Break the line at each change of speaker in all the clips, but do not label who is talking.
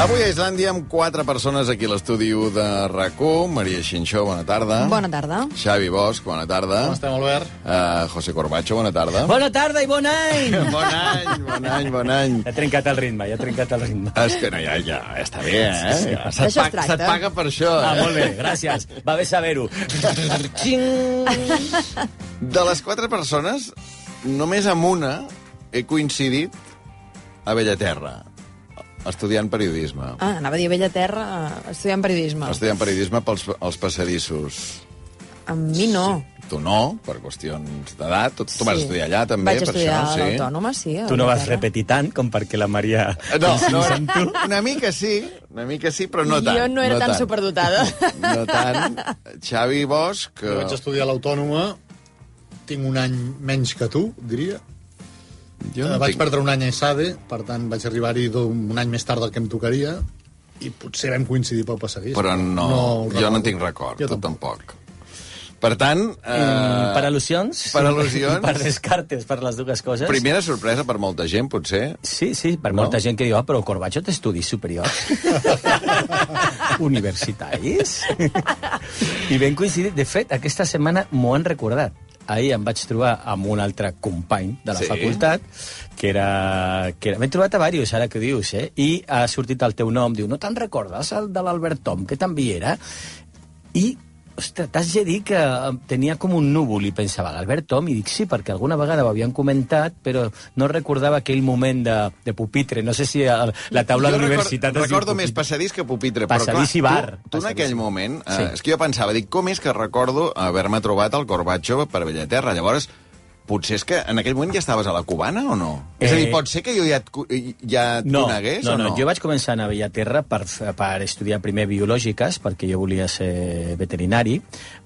Avui a Islàndia amb quatre persones aquí a l'estudi u de RAC1. Maria Xinxó, bona tarda.
Bona tarda.
Xavi Bosch, bona tarda.
Com estem, Albert?
Uh, José Corbacho, bona tarda.
Bona tarda i bon any!
Bon any, bon any, bon any.
Ja ha trencat el ritme, ja ha trencat el ritme.
És que no, ja, ja està bé, eh?
Sí, sí.
Ja,
D'això es
Se't, paga,
tracta.
se't paga per això, eh?
Ah, molt bé, gràcies. Va bé saber-ho. Xing!
De les quatre persones, només amb una he coincidit a Bellaterra, estudiant periodisme.
Ah, anava a dir Vella Terra, eh, estudiant periodisme.
Estudiant periodisme pels als passadissos.
Amb mi no.
Tu no, per qüestions d'edat. Tu, tu vas
Sí.
estudiar allà, també,
Vaig
per
estudiar
això,
a l'Autònoma, sí. a
Tu no vas
Vella Terra.
repetir tant com perquè la Maria...
No, no, una mica sí, una mica sí, però no tant.
Jo no era tan
tant.
superdotada.
No tant. Xavi Bosch...
Jo vaig estudiar a l'Autònoma, tinc un any menys que tu, diria.
jo
No vaig perdre un any a ESADE, per tant vaig arribar-hi d'un- un any més tard del que em tocaria, i potser vam coincidir pel passadís.
Però no,
ho
jo no
recordo.
en tinc record,
Jo
tu
tampoc.
tampoc. Per tant, eh,
Mm, per al·lusions?
per al·lusions.
Per descartes, per les dues coses?
primera sorpresa per molta gent, potser.
Sí, sí, per
No?
molta gent que diu, ah, però Corbacho té estudis superiors. Universitaris. I ben coincidit. De fet, aquesta setmana m'ho han recordat. Ahir em vaig trobar amb un altre company de la
Sí.
sí. facultat, que era... Que era... M'he trobat a diversos, ara que ho dius, eh? I ha sortit el teu nom, diu, no te'n recordes, el de l'Albert Tom, que també hi era? I, ostres, t'has de dir que eh, tenia com un núvol i pensava, l'Albert Tom, i dic sí, perquè alguna vegada ho havien comentat, però no recordava aquell moment de, de pupitre. No sé si a la taula
Jo
d'universitat...
record, recordo més passadís que pupitre.
Passadís i
però, clar,
bar.
Tu, tu en
Passadís.
aquell moment, eh, sí.
Sí.
és que jo pensava, dic, com és que recordo haver-me trobat el Corbacho per Bellaterra? Llavors, potser és que en aquell moment ja estaves a la cubana o no? Eh... És a dir,
Eh,
pot ser que jo ja et, co- ja et
no,
conegués
no,
o no?
no, jo vaig començar a anar a Bellaterra per, f- per estudiar primer biològiques, perquè jo volia ser veterinari,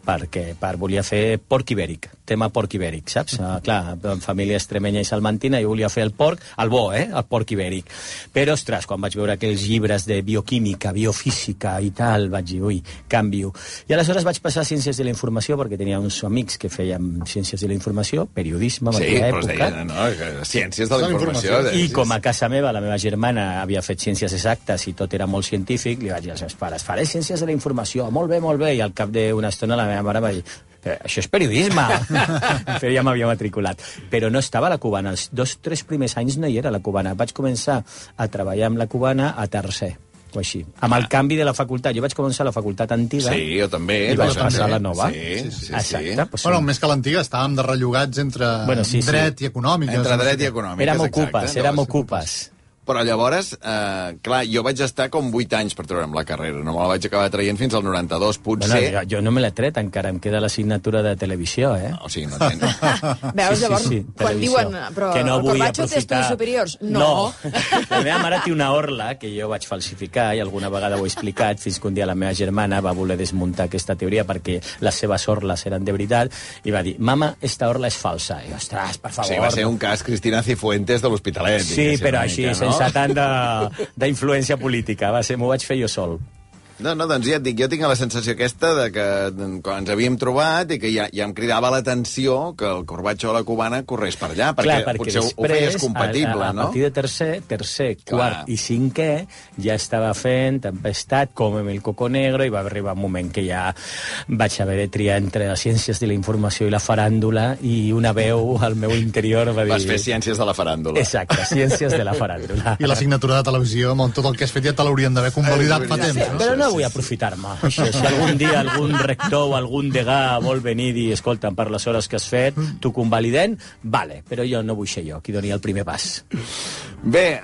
perquè per, volia fer porc ibèric, tema porc ibèric, saps? Ah, clar, en família estremenya i salmantina, jo volia fer el porc, el bo, eh?, el porc ibèric. Però, ostres, quan vaig veure aquells llibres de bioquímica, biofísica i tal, vaig dir, ui, canvio. I aleshores vaig passar a Ciències de la Informació, perquè tenia uns amics que feien Ciències de la Informació, periodisme, en
Sí,
aquella
però es
època.
deien, no, que ciències de la
Són
informació.
informació.
I
deies.
com a casa meva la meva germana havia fet ciències exactes i tot era molt científic, li vaig dir als meus pares, faré ciències de la informació, molt bé, molt bé, i al cap d'una estona la meva mare va dir, "Eh, això és periodisme! Però ja m'havia matriculat. Però no estava a la cubana, els dos, tres primers anys no hi era a la cubana. Vaig començar a treballar amb la cubana a tercer, o així. Amb el canvi de la facultat, jo vaig començar a la facultat antiga,
Ah. Sí, jo també.
i vaig
doncs,
passar a la
sí,
nova.
Sí, sí, sí.
Exacte,
sí.
doncs,
Bueno, més que l'antiga, estàvem derrellogats entre
Bueno, sí, sí.
dret i econòmiques.
Entre
no sé
dret i
què.
econòmiques,
Érem
exacte.
ocupes, érem ocupes.
Però llavores, eh, clar, jo vaig estar com 8 anys per treure'm la carrera. No me la vaig acabar traient fins al 92, potser.
Bueno, jo, jo no me l'he tret, encara em queda l'assignatura de televisió, eh?
O sigui, no tens...
Veus,
Sí, sí,
llavors,
sí,
quan
televisió.
diuen... eh, Però
que no
el
vull
Corbacho té
aprofitar-
estudis superiors. No.
no. La meva mare té una orla que jo vaig falsificar i alguna vegada ho he explicat, fins que un dia la meva germana va voler desmuntar aquesta teoria perquè les seves orles eren de veritat i va dir, mama, esta orla és falsa. I, ostres, per favor.
Sí, va ser un cas Cristina Cifuentes de l'Hospitalet.
Sí,
diguéssim,
però
una
així,
mica, no?
sense tant de- d'influència política. Va ser, m'ho vaig fer jo sol.
No, no, doncs ja et dic, jo tinc la sensació aquesta de que mm, quan ens havíem trobat i que ja, ja em cridava l'atenció que el corbatxo a la cubana corrés per allà, perquè, potser ho- ho feies compatible,
a, a, a
no?
partir de tercer, tercer,
Clar.
quart i cinquè, ja estava fent Tempestat, Comem el Coco Negro, i va arribar un moment que ja vaig haver de triar entre les ciències de la informació i la faràndula, i una veu al meu interior va dir...
Vas fer ciències de la faràndula.
Exacte, ciències de la faràndula.
I l'assignatura de televisió, amb tot el que has fet ja te l'haurien d'haver convalidat fa
Sí,
temps.
Sí,
no?
però no vull aprofitar-me. Això, Si algun dia algun rector o algun degà vol venir i dir, escolta'm, per les hores que has fet, tu convalidem, vale, però jo no vull ser jo qui doni el primer pas.
Bé, eh,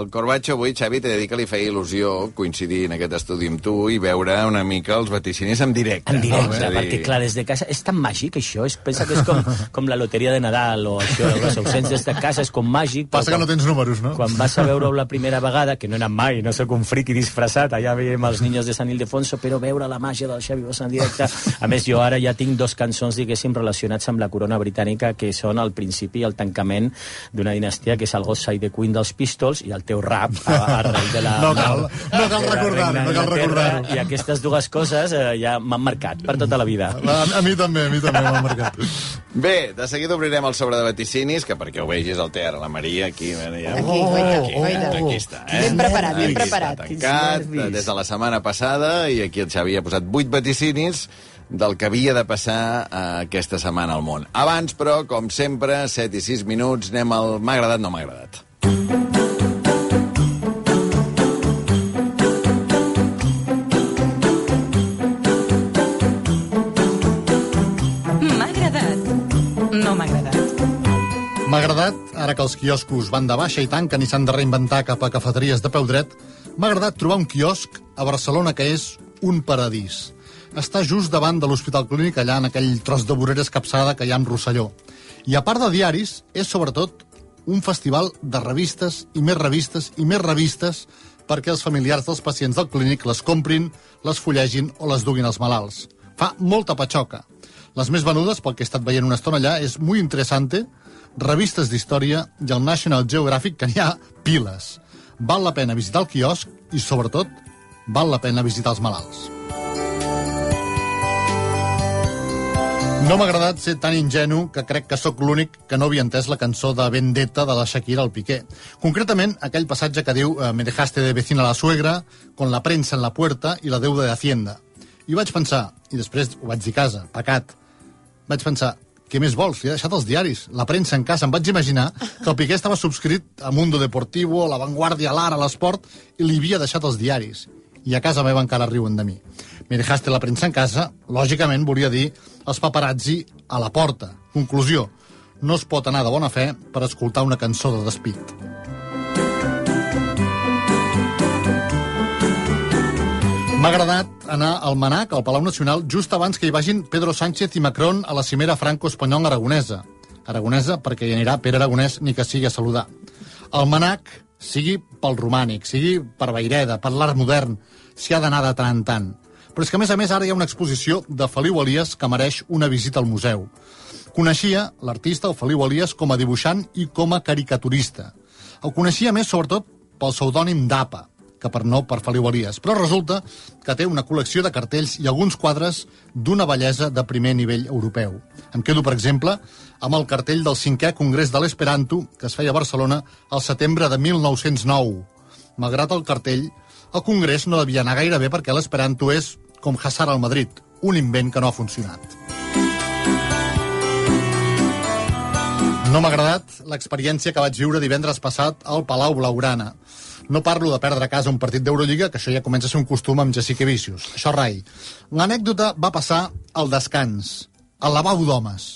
el Corbacho avui, Xavi, t'he de dir que li feia il·lusió coincidir en aquest estudi amb tu i veure una mica els vaticinis en directe. no?
En
És
directe,
a
no,
dir,
perquè clar, des de casa és tan màgic això, es pensa que és com, com la loteria de Nadal o això, les ausències de casa és com màgic. però
Passa que no
quan-
tens números, no?
Quan vas a veure-ho la primera vegada, que no he anat mai, no sóc un friqui disfressat, allà veiem els los niños de Sant Ildefonso, però veure la màgia del Xavi Bosch en directe... A més, jo ara ja tinc dos cançons, diguéssim, relacionats amb la corona britànica, que són al principi i el tancament d'una dinastia, que és el Gossai de Queen dels Pistols i el teu rap a, arrel de la...
No cal, no cal
de la
recordar-ho,
Reina
no cal
d'Anglaterra,
recordar-ho.
I aquestes dues coses eh, ja m'han marcat per tota la vida.
A, a mi també, a mi també m'ha marcat.
Bé, de seguida obrirem el sobre de vaticinis, que perquè ho vegis el té ara la Maria, aquí... Bueno, ja... Oh,
Aquí, guaita,
aquí,
guaita.
aquí està, eh?
Ben preparat,
Aquí
ben
està
preparat.
Tancat,
Quins nervis.
des de la setmana passada, i aquí el Xavi ha posat vuit vaticinis del que havia de passar eh, aquesta setmana al món. Abans, però, com sempre, 7 i 6 minuts, anem al m'ha agradat, no m'ha agradat.
M'ha agradat. No m'ha agradat.
M'ha agradat, ara que els quioscos van de baixa i tanquen i s'han de reinventar cap a cafeteries de peu dret, m'ha agradat trobar un quiosc a Barcelona que és un paradís. Està just davant de l'Hospital Clínic, allà en aquell tros de vorera escapçada que hi ha amb Rosselló. I a part de diaris, és sobretot un festival de revistes i més revistes i més revistes perquè els familiars dels pacients del clínic les comprin, les fullegin o les duguin als malalts. Fa molta patxoca. Les més venudes, pel que he estat veient una estona allà, és Muy Interesante, revistes d'història i el National Geographic, que n'hi ha piles. Val la pena visitar el quiosc i, sobretot, val la pena visitar els malalts. No m'ha agradat ser tan ingenu que crec que sóc l'únic que no havia entès la cançó de Vendetta de la Shakira al Piqué. Concretament, aquell passatge que diu eh, «Me dejaste de vecina la suegra, con la premsa en la puerta i la deuda de Hacienda». I vaig pensar, i després ho vaig dir a casa, pecat, vaig pensar, què més vols? Li he deixat els diaris, la premsa en casa. Em vaig imaginar que el Piqué estava subscrit a Mundo Deportivo, a La Vanguardia, a l'Ara, a l'Esport, i li havia deixat els diaris. I a casa meva encara riuen de mi. Me dejaste la premsa en casa, lògicament volia dir els paparazzi a la porta. Conclusió, no es pot anar de bona fe per escoltar una cançó de despit. M'ha agradat anar al Manac, al Palau Nacional, just abans que hi vagin Pedro Sánchez i Macron a la cimera franco-espanyol aragonesa. Aragonesa perquè hi anirà Pere Aragonès ni que sigui a saludar. El Manac, sigui pel romànic, sigui per Vaireda, per l'art modern, s'hi ha d'anar de tant en tant. Però és que, a més a més, ara hi ha una exposició de Feliu Elias que mereix una visita al museu. Coneixia l'artista, el Feliu Elias, com a dibuixant i com a caricaturista. El coneixia més, sobretot, pel pseudònim d'Apa, que per no per Feliu Elias. Però resulta que té una col·lecció de cartells i alguns quadres d'una bellesa de primer nivell europeu. Em quedo, per exemple, amb el cartell del cinquè Congrés de l'Esperanto, que es feia a Barcelona al setembre de 1909. Malgrat el cartell, el Congrés no devia anar gaire bé perquè l'Esperanto és, com Hassar al Madrid, un invent que no ha funcionat. No m'ha agradat l'experiència que vaig viure divendres passat al Palau Blaugrana. No parlo de perdre a casa un partit d'Eurolliga, que això ja comença a ser un costum amb Jessica Vicius. Això rai. L'anècdota va passar al descans, al lavabo d'homes.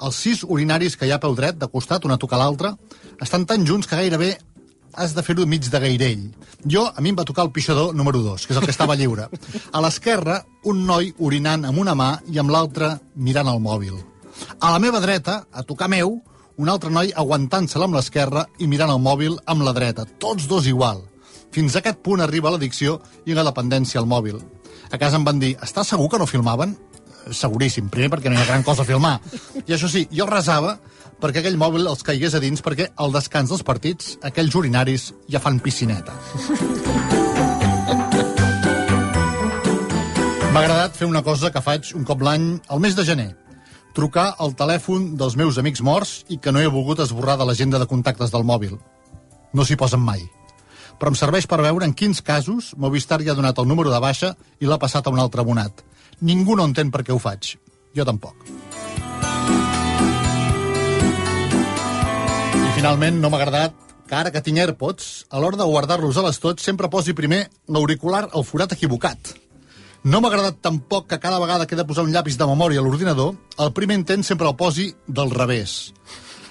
Els sis urinaris que hi ha a peu dret, de costat, una toca l'altra, estan tan junts que gairebé has de fer-ho mig de gairell. Jo, a mi em va tocar el pixador número 2, que és el que estava lliure. A l'esquerra, un noi orinant amb una mà i amb l'altra mirant el mòbil. A la meva dreta, a tocar meu, un altre noi aguantant-se-la amb l'esquerra i mirant el mòbil amb la dreta, tots dos igual. Fins a aquest punt arriba l'addicció i la dependència al mòbil. A casa em van dir, està segur que no filmaven? "Eh, Seguríssim, primer perquè no hi ha gran cosa a filmar. I això sí, jo resava perquè aquell mòbil els caigués a dins perquè al descans dels partits aquells urinaris ja fan piscineta. M'ha agradat fer una cosa que faig un cop l'any, al mes de gener. Trucar al telèfon dels meus amics morts i que no he volgut esborrar de l'agenda de contactes del mòbil. No s'hi posen mai. Però em serveix per veure en quins casos Movistar ja ha donat el número de baixa i l'ha passat a un altre abonat. Ningú no entén per què ho faig. Jo tampoc. I finalment no m'ha agradat que ara que tinc AirPods, a l'hora de guardar-los a les tots, sempre posi primer l'auricular al forat equivocat. No m'ha agradat tampoc que cada vegada que he de posar un llapis de memòria a l'ordinador, el primer intent sempre el posi del revés.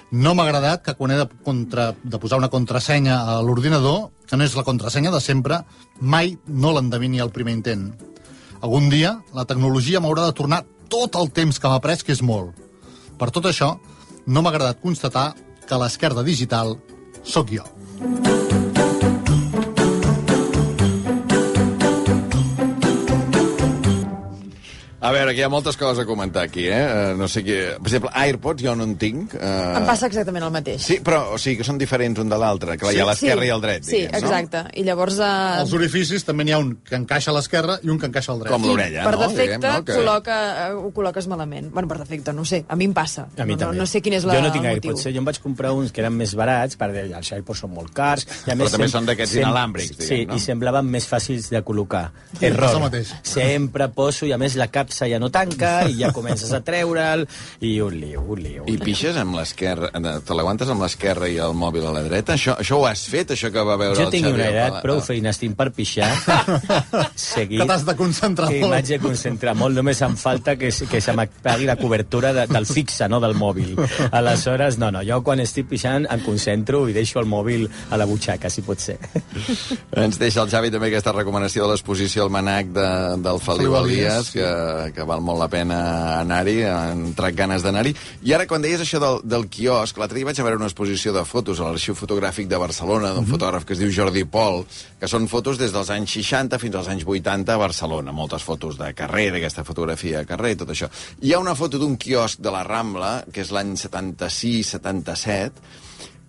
No m'ha agradat que quan he de, contra, de posar una contrasenya a l'ordinador, que no és la contrasenya de sempre, mai no l'endevini al primer intent. Algun dia la tecnologia m'haurà de tornar tot el temps que m'ha pres, que és molt. Per tot això, no m'ha agradat constatar que a l'esquerda digital sóc jo.
A veure, que hi ha moltes coses a comentar aquí, eh? Eh, No sé què... Per exemple, AirPods jo no en tinc. Eh...
Em passa exactament el mateix.
Sí, però o sigui que són diferents un de l'altre, que sí, hi ha l'esquerra
sí,
i el dret,
Sí,
diguem,
exacte. I llavors...
Als
Eh,
orificis també n'hi ha un que encaixa a l'esquerra i un que encaixa al dret.
Com l'orella,
per
no?
defecte
Diguem, no? Que-
col·loca, eh, ho col·loques malament. Bueno, per defecte, no ho sé. A mi em passa.
A mi
no,
també.
No, no sé quin és la,
Jo no tinc
el motiu.
AirPods. eh? Jo em vaig comprar uns que eren més barats, perquè els AirPods són molt cars. I a
Però també
sem-
són d'aquests
sem-
inalàmbrics, diguem,
Sí,
no?
i semblaven més fàcils de col·locar.
Sí, passa el
Error.
mateix.
Sempre poso, i a més la capsa ja no tanca, i ja comences a treure'l, i un lío, un lío.
I pixes amb l'esquerra, eh, te l'aguantes amb l'esquerra i el mòbil a la dreta? Això, això ho has fet, això que va veure
Jo
el
tinc
Xavier?
una edat,
Pala-
prou
Ah.
feines tinc per pixar. seguit,
Que t'has de concentrar
que
molt.
m'haig de concentrar molt. Només em falta que, se- que se m'apagui la cobertura de, del fixe, no del mòbil. Aleshores, no, no, jo quan estic pixant em concentro i deixo el mòbil a la butxaca, si pot ser.
Ens deixa el Xavi també aquesta recomanació de l'exposició al Manac de, del Feliu
Feliu
Elias,
Elias,
que, que val molt la pena anar-hi, entrar amb ganes d'anar-hi. I ara, quan deies això del, del quiosc, l'altre dia vaig a veure una exposició de fotos a l'Arxiu Fotogràfic de Barcelona d'un mm -hmm.
Mhm.
fotògraf que es diu Jordi Pol, que són fotos des dels anys 60 fins als anys 80 a Barcelona. Moltes fotos de carrer, d'aquesta fotografia de carrer, i tot això. Hi ha una foto d'un quiosc de la Rambla, que és l'any 76-77,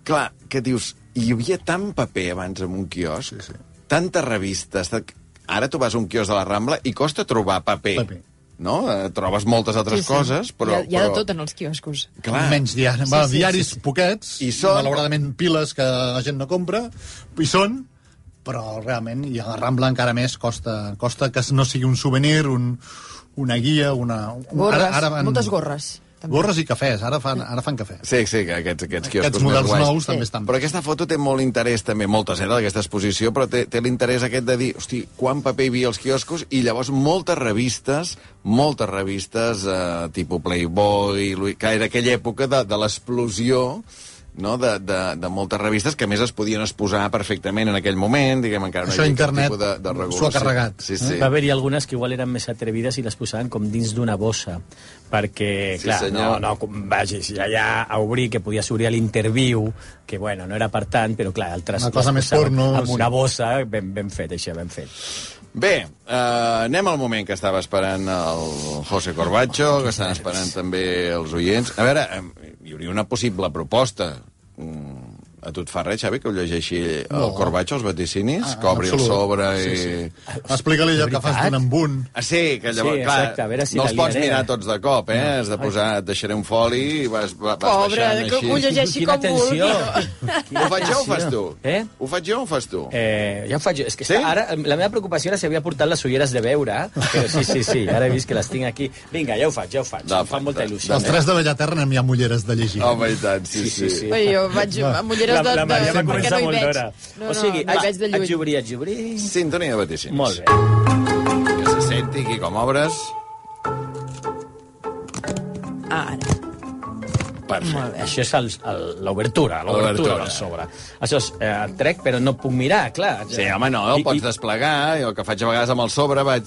clar, que dius, hi havia tant paper abans en un quiosc, sí, sí. tantes revistes... Tant... Ara tu vas a un quiosc de la Rambla i costa trobar paper.
Paper.
No? Eh, Trobes moltes altres sí, sí. coses, però...
Hi ha, hi ha
però...
de tot en els quioscos.
Clar,
Menys diaris, sí, sí, diaris sí, sí. poquets,
I
I
són-
són... malauradament piles que la gent no compra, i són, però realment, i a la Rambla encara més costa, costa que no sigui un souvenir, un, una guia, una... un-
Gorres, moltes gorres, també.
Gorres i cafès, ara fan, ara fan cafè.
Sí, sí, que aquests, aquests quioscos
Aquests
més
models
guais.
nous
Sí.
també estan.
Però aquesta foto té molt interès, també, moltes, eh, d'aquesta exposició, però té, té l'interès aquest de dir, hosti, quan paper hi havia als quioscos, i llavors moltes revistes, moltes revistes, eh, tipus Playboy, Louis- que era aquella època de, de l'explosió no? de, de, de moltes revistes que a més es podien exposar perfectament en aquell moment, diguem, encara no
Això
hi havia cap
internet
tipus de, de
s'ho ha
regulació.
carregat,
Sí,
eh?
sí.
Va haver-hi algunes que igual eren més atrevides i les posaven com dins d'una bossa, perquè,
Sí,
clar,
senyor.
no, no, com vagis allà a obrir, que podies obrir a l'interviu, que, bueno, no era per tant, però, clar, altres...
Una cosa
les
més
posaven
porno,
Amb
sí.
una bossa, ben, ben fet, això, ben fet.
Bé, eh, anem al moment que estava esperant el José Corbacho, que estan esperant també els oients. A veure, eh, hi hauria una possible proposta. Mm, a tu et fa res, Xavi, que ho llegeixi el
No.
Corbacho, els vaticinis? Ah,
Ah,
que obri el
absolut.
sobre i...
Sí,
Sí,
sí.
sí.
Explica-li allò que fas d'un en un.
Ah, sí, que llavors,
Sí,
clar,
exacte, a veure si
no
la
els pots
liaré.
mirar tots de cop, eh? Has de posar, et deixaré un foli i vas, va- vas
Pobre,
baixant
que
així.
ho llegeixi
Quina
com
tensió!
vulgui.
Ho faig jo o ho fas tu?
Eh?
Ho faig jo o ho fas tu?
Eh, ja ho faig jo. És que
Sí?
sí? ara, eh, la meva preocupació era si havia portat les ulleres de veure, eh? però sí, sí, sí, ara he vist que les tinc aquí. Vinga, ja ho faig, ja ho faig.
Va,
em fa molta
va,
il·lusió.
Els tres de Bellaterra n'hi ha mulleres de llegir.
Home, i tant, sí,
Sí,
sí.
sí, sí.
Oi, jo vaig amb ulleres de... de-
Maria va
perquè
començar
no hi
molt
veig.
d'hora.
No, no,
o sigui,
no hi
va,
veig de lluny.
Haig d'obrir, haig d'obrir...
Sintonia de vaticinis.
Molt bé.
Que se senti aquí com obres.
Ah, ara.
Perfecte.
Molt bé.
Això és el- el- l'obertura, l'obertura
L'obertura.
del sobre. Això és, eh, el trec, però no puc mirar, clar.
Sí, home, no, el pots desplegar. Jo el que faig a vegades amb el sobre vaig,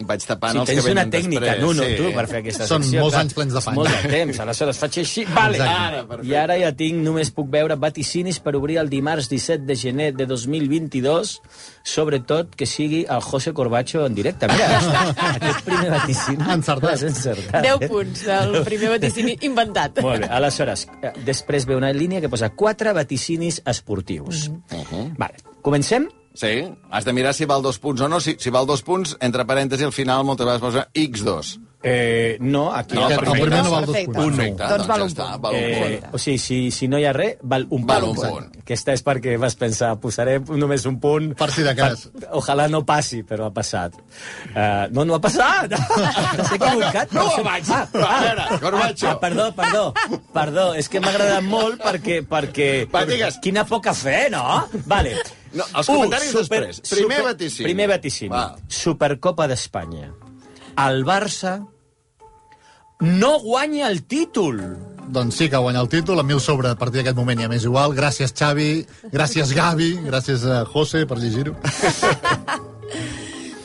vaig tapant
Si
els que
tens una
venen
tècnica,
després.
Nuno,
sí.
tu, per fer aquesta
Són
secció...
molts
clar,
anys plens de fang.
Molt de temps, aleshores faig així, vale,
Exacte.
Ara, perfecte.
I ara ja tinc, només puc veure vaticinis per obrir el dimarts 17 de gener de 2022, sobretot que sigui el José Corbacho en directe. Mira, aquest primer vaticini...
Ha encertat.
l'has encertat. eh?
10 punts del primer vaticini inventat.
Molt bé, aleshores, eh, després ve una línia que posa quatre vaticinis esportius. Mm -hmm. Vale, comencem?
Sí, has de mirar si val dos punts o no. Si, si val dos punts, entre parèntesi, al final moltes vegades posa X2.
Eh, no, aquí...
No,
el
perfecte.
primer
no val dos
Perfecte.
punts.
Perfecte,
Doncs val
ja
un
està,
punt.
val un
Eh,
punt.
o sigui, si, si no hi ha res, val un
Val
punt.
un punt.
Aquesta és perquè vas pensar, posaré només un punt...
Per si de cas.
Per- Ojalà no passi, però ha passat. Uh, no, no ha passat! T'has equivocat?
No
però
ho
se-
vaig.
Ah,
A veure, Corbacho.
Ah, perdó, perdó, perdó. És que m'ha agradat molt perquè... perquè
Va, digues.
Quina poca fe, no? Vale.
No, els
U,
comentaris després. Primer vaticini.
Primer vaticini.
Va.
Supercopa d'Espanya. El Barça no guanya el títol.
Doncs sí que ha guanyat el títol, a mi el sobre a partir d'aquest moment ja m'és igual. Gràcies, Xavi, gràcies, Gavi, gràcies a José per llegir-ho.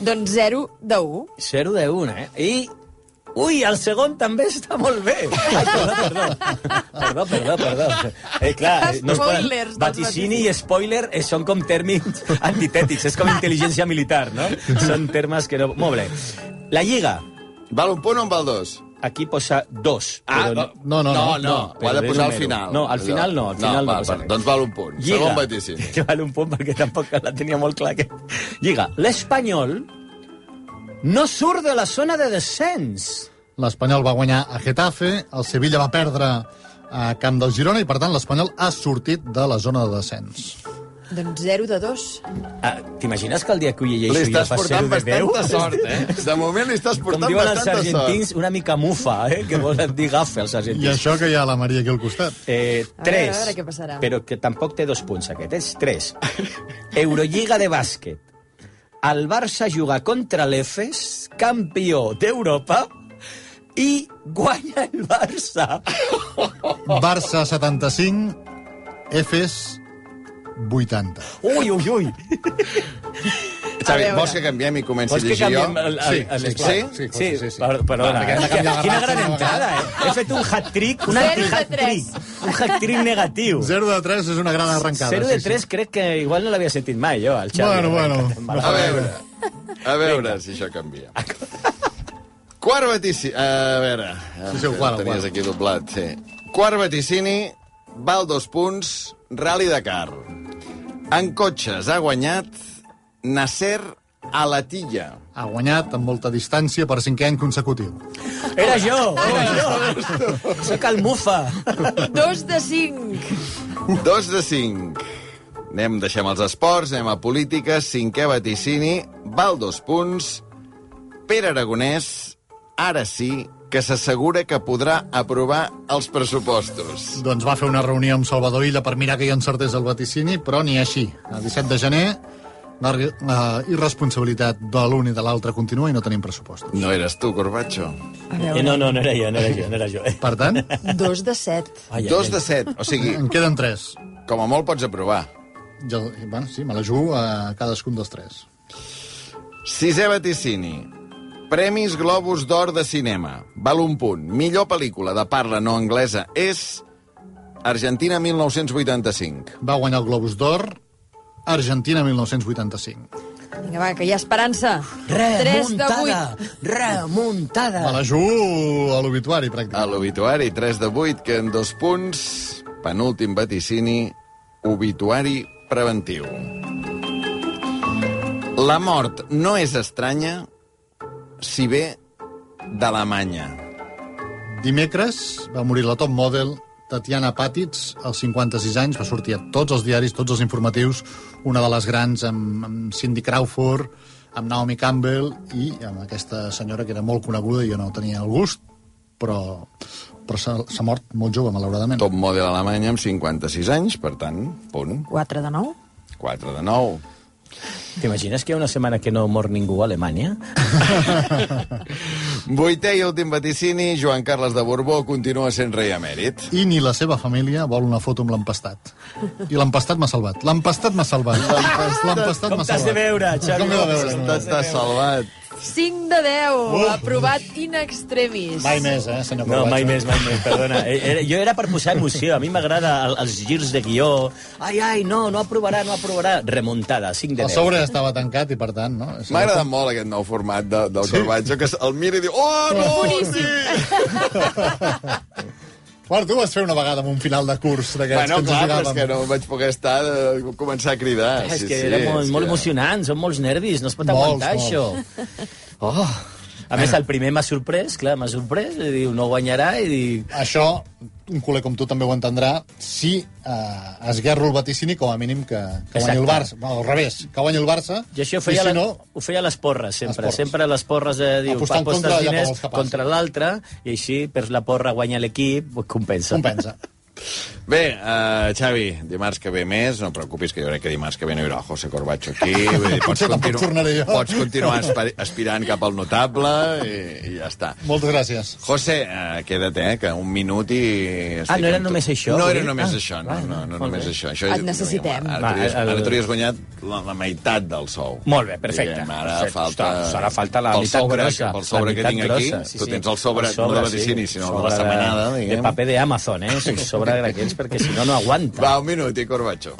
Doncs 0 de 1.
0 de 1, eh? I... Ui, el segon també està molt bé. Ai, perdó, perdó. Perdó, perdó, perdó. Eh, clar, eh, es poden-
Spoilers dels
Vaticini i spoiler eh, són com tèrmins antitètics, és com intel·ligència militar, no? Són termes que no... Molt bé. La Lliga,
Val un punt o en val dos?
Aquí posa dos.
Ah,
però
no,
no, no,
no,
no.
no. Ho ha de
Però
posar al
número.
final.
No, al final no, al final no
val,
passa
val,
res.
doncs val un punt.
Lliga.
Segon vaticini.
Que val un punt perquè tampoc la tenia molt clar. Que... Lliga. L'Espanyol no surt de la zona de descens.
L'Espanyol va guanyar a Getafe, el Sevilla va perdre a Camp del Girona i, per tant, l'Espanyol ha sortit de la zona de descens.
Doncs 0 de 2.
Ah, T'imagines que el dia que ho llegeixo
Li
jo
estàs
fa 0
portant
de 10?
bastanta sort, eh? De moment li estàs
Com
portant
diuen els
bastanta sort.
argentins, una mica mufa, eh? que volen dir gafe els
I
argentins.
això que hi ha la Maria aquí al costat.
Eh,
A veure,
tres.
a veure què passarà.
Però que tampoc té dos punts aquest, és tres. Eurolliga de bàsquet. El Barça juga contra l'Efes, campió d'Europa, i guanya el Barça.
Barça 75, Efes 80.
Ui, ui, ui.
Xavi,
A veure.
vols que canviem i comenci a
Vols que
llegir
canviem
jo?
el, el, el,
sí,
esclar?
sí,
sí, sí, sí, sí.
per- Perdona,
Va, perquè hem de
eh?
canviar la
quina
gràcia
gran
una
entrada, eh? He fet un hat-trick, un
Zero de
anti-hat-trick. Un hat-trick negatiu.
0 de 3 és una gran arrencada.
0 de
sí, sí.
3 crec que igual no l'havia sentit mai, jo, el Xavi.
Bueno, bueno.
A veure, a veure si això canvia. Quart vaticini... A veure...
Sí, sí, el quart, el
Tenies
quart.
aquí doblat, sí. Quart vaticini, val dos punts, Rally Dakar. En cotxes ha guanyat Nasser Alatilla.
Ha guanyat amb molta distància per cinquè any consecutiu.
Era jo, era jo. Soc el Mufa.
2 de 5.
Dos de cinc. Anem, deixem els esports, anem a política. Cinquè vaticini, val dos punts. Pere Aragonès, ara sí, que s'assegura que podrà aprovar els pressupostos.
Doncs va fer una reunió amb Salvador Illa per mirar que hi encertés el vaticini, però ni així. El 17 de gener, la ri- la irresponsabilitat de l'un i de l'altre continua i no tenim pressupost.
No eres tu, Corbacho.
A
Eh,
veure,
no, no, no era jo, no era jo, no era jo.
Per tant,
2 de 7.
Ai, ai,
Dos
ai.
de set. O sigui,
en queden tres.
com a molt pots aprovar.
Jo, bueno, sí, me la jugo a cadascun dels tres.
Sisè vaticini. Premis Globus d'Or de Cinema. Val un punt. Millor pel·lícula de parla no anglesa és... Argentina 1985.
Va guanyar el Globus d'Or, Argentina 1985.
Vinga, va, que hi ha esperança. 3 de 8.
Remuntada, remuntada.
Me la jugo a l'obituari,
A
pràcticament.
l'obituari, 3 de 8, que en dos punts... Penúltim vaticini, obituari preventiu. La mort no és estranya si ve d'Alemanya.
Dimecres va morir la top model Tatiana Patitz, als 56 anys, va sortir a tots els diaris, tots els informatius, una de les grans amb, amb Cindy Crawford, amb Naomi Campbell i amb aquesta senyora que era molt coneguda i jo no tenia el gust, però, però s'ha s'ha mort molt jove, malauradament.
Top model alemanya amb 56 anys, per tant, punt.
4 de 9.
4 de 9.
T'imagines que hi ha una setmana que no mor ningú a Alemanya?
Vuitè i últim vaticini, Joan Carles de Borbó continua sent rei emèrit.
I ni la seva família vol una foto amb l'empastat. I l'empastat m'ha salvat. L'empastat m'ha salvat. L'empastat
Com
m'ha
t'has de
salvat.
veure, Xavi?
Com m'he de veure?
Està, està salvat.
5 de 10. Aprovat in extremis.
Mai més, eh, senyor
No,
Corbacho.
mai més, mai més, perdona. Eh, Era, jo era per posar emoció. A mi m'agrada el, els girs de guió. Ai, ai, no, no aprovarà, no aprovarà. Remuntada, 5 de
El
10.
sobre estava tancat i, per tant, no? És
M'ha agradat molt aquest nou format de, del sí. Corbacho, que el mira i diu... Oh, no! Sí.
Bueno, tu ho vas fer una vegada amb un final de curs d'aquests
Bueno,
que ens
clar, però és
lligàvem.
que no vaig poder estar de començar a cridar.
Ah, És que era molt,
és
molt
que-
emocionant, són molts nervis, no es pot
Molts,
aguantar
molts.
això. Oh. A més, el primer m'ha sorprès, clar, m'ha sorprès, i diu, no guanyarà, i diu...
Això, un culer com tu també ho entendrà, si eh, esguerro el vaticini, com a mínim que, que guanyi el
Exacte.
Barça. Bueno, al revés, que guanyi el Barça,
I això ho feia,
si
la,
no...
ho feia a les porres, sempre.
Les porres.
Sempre a les porres eh, de dir,
Apostant
apostes
contra allà
diners
vols que passi.
contra l'altre, i així perds la porra, guanya l'equip, compensa.
Compensa.
Bé, uh, Xavi, dimarts que ve més, no et preocupis, que jo crec que dimarts que ve no hi haurà el José Corbacho aquí. Vull dir,
Potser tampoc tornaré jo.
pots continuar aspi- aspirant cap al notable i, i ja està.
Moltes gràcies.
José, eh, queda't, eh, que un minut i... estic
Ah, no era
amb tu.
només això,
No era
avui?
només
Ah,
això, no,
va,
no, no
molt
només
bé.
això. això
Et necessitem.
Ara
Va,
t'hauries-
el-
Ara t'hauries guanyat la, la meitat del sou.
Molt bé, perfecte.
Diguem, ara
Perfecte.
falta...
Ostres, ara falta la
pel
meitat
sobre,
grossa,
Pel
la
sobre que
meitat
tinc
grossa,
aquí,
sí,
tu
sí.
tens el sobre,
El
no
sobre,
de vaticini,
sí,
sinó
sobre
de la setmanada,
de,
diguem.
de paper d'Amazon, eh? Un sobre d'aquests, perquè si no, no aguanta.
Va, un minut i Corbacho.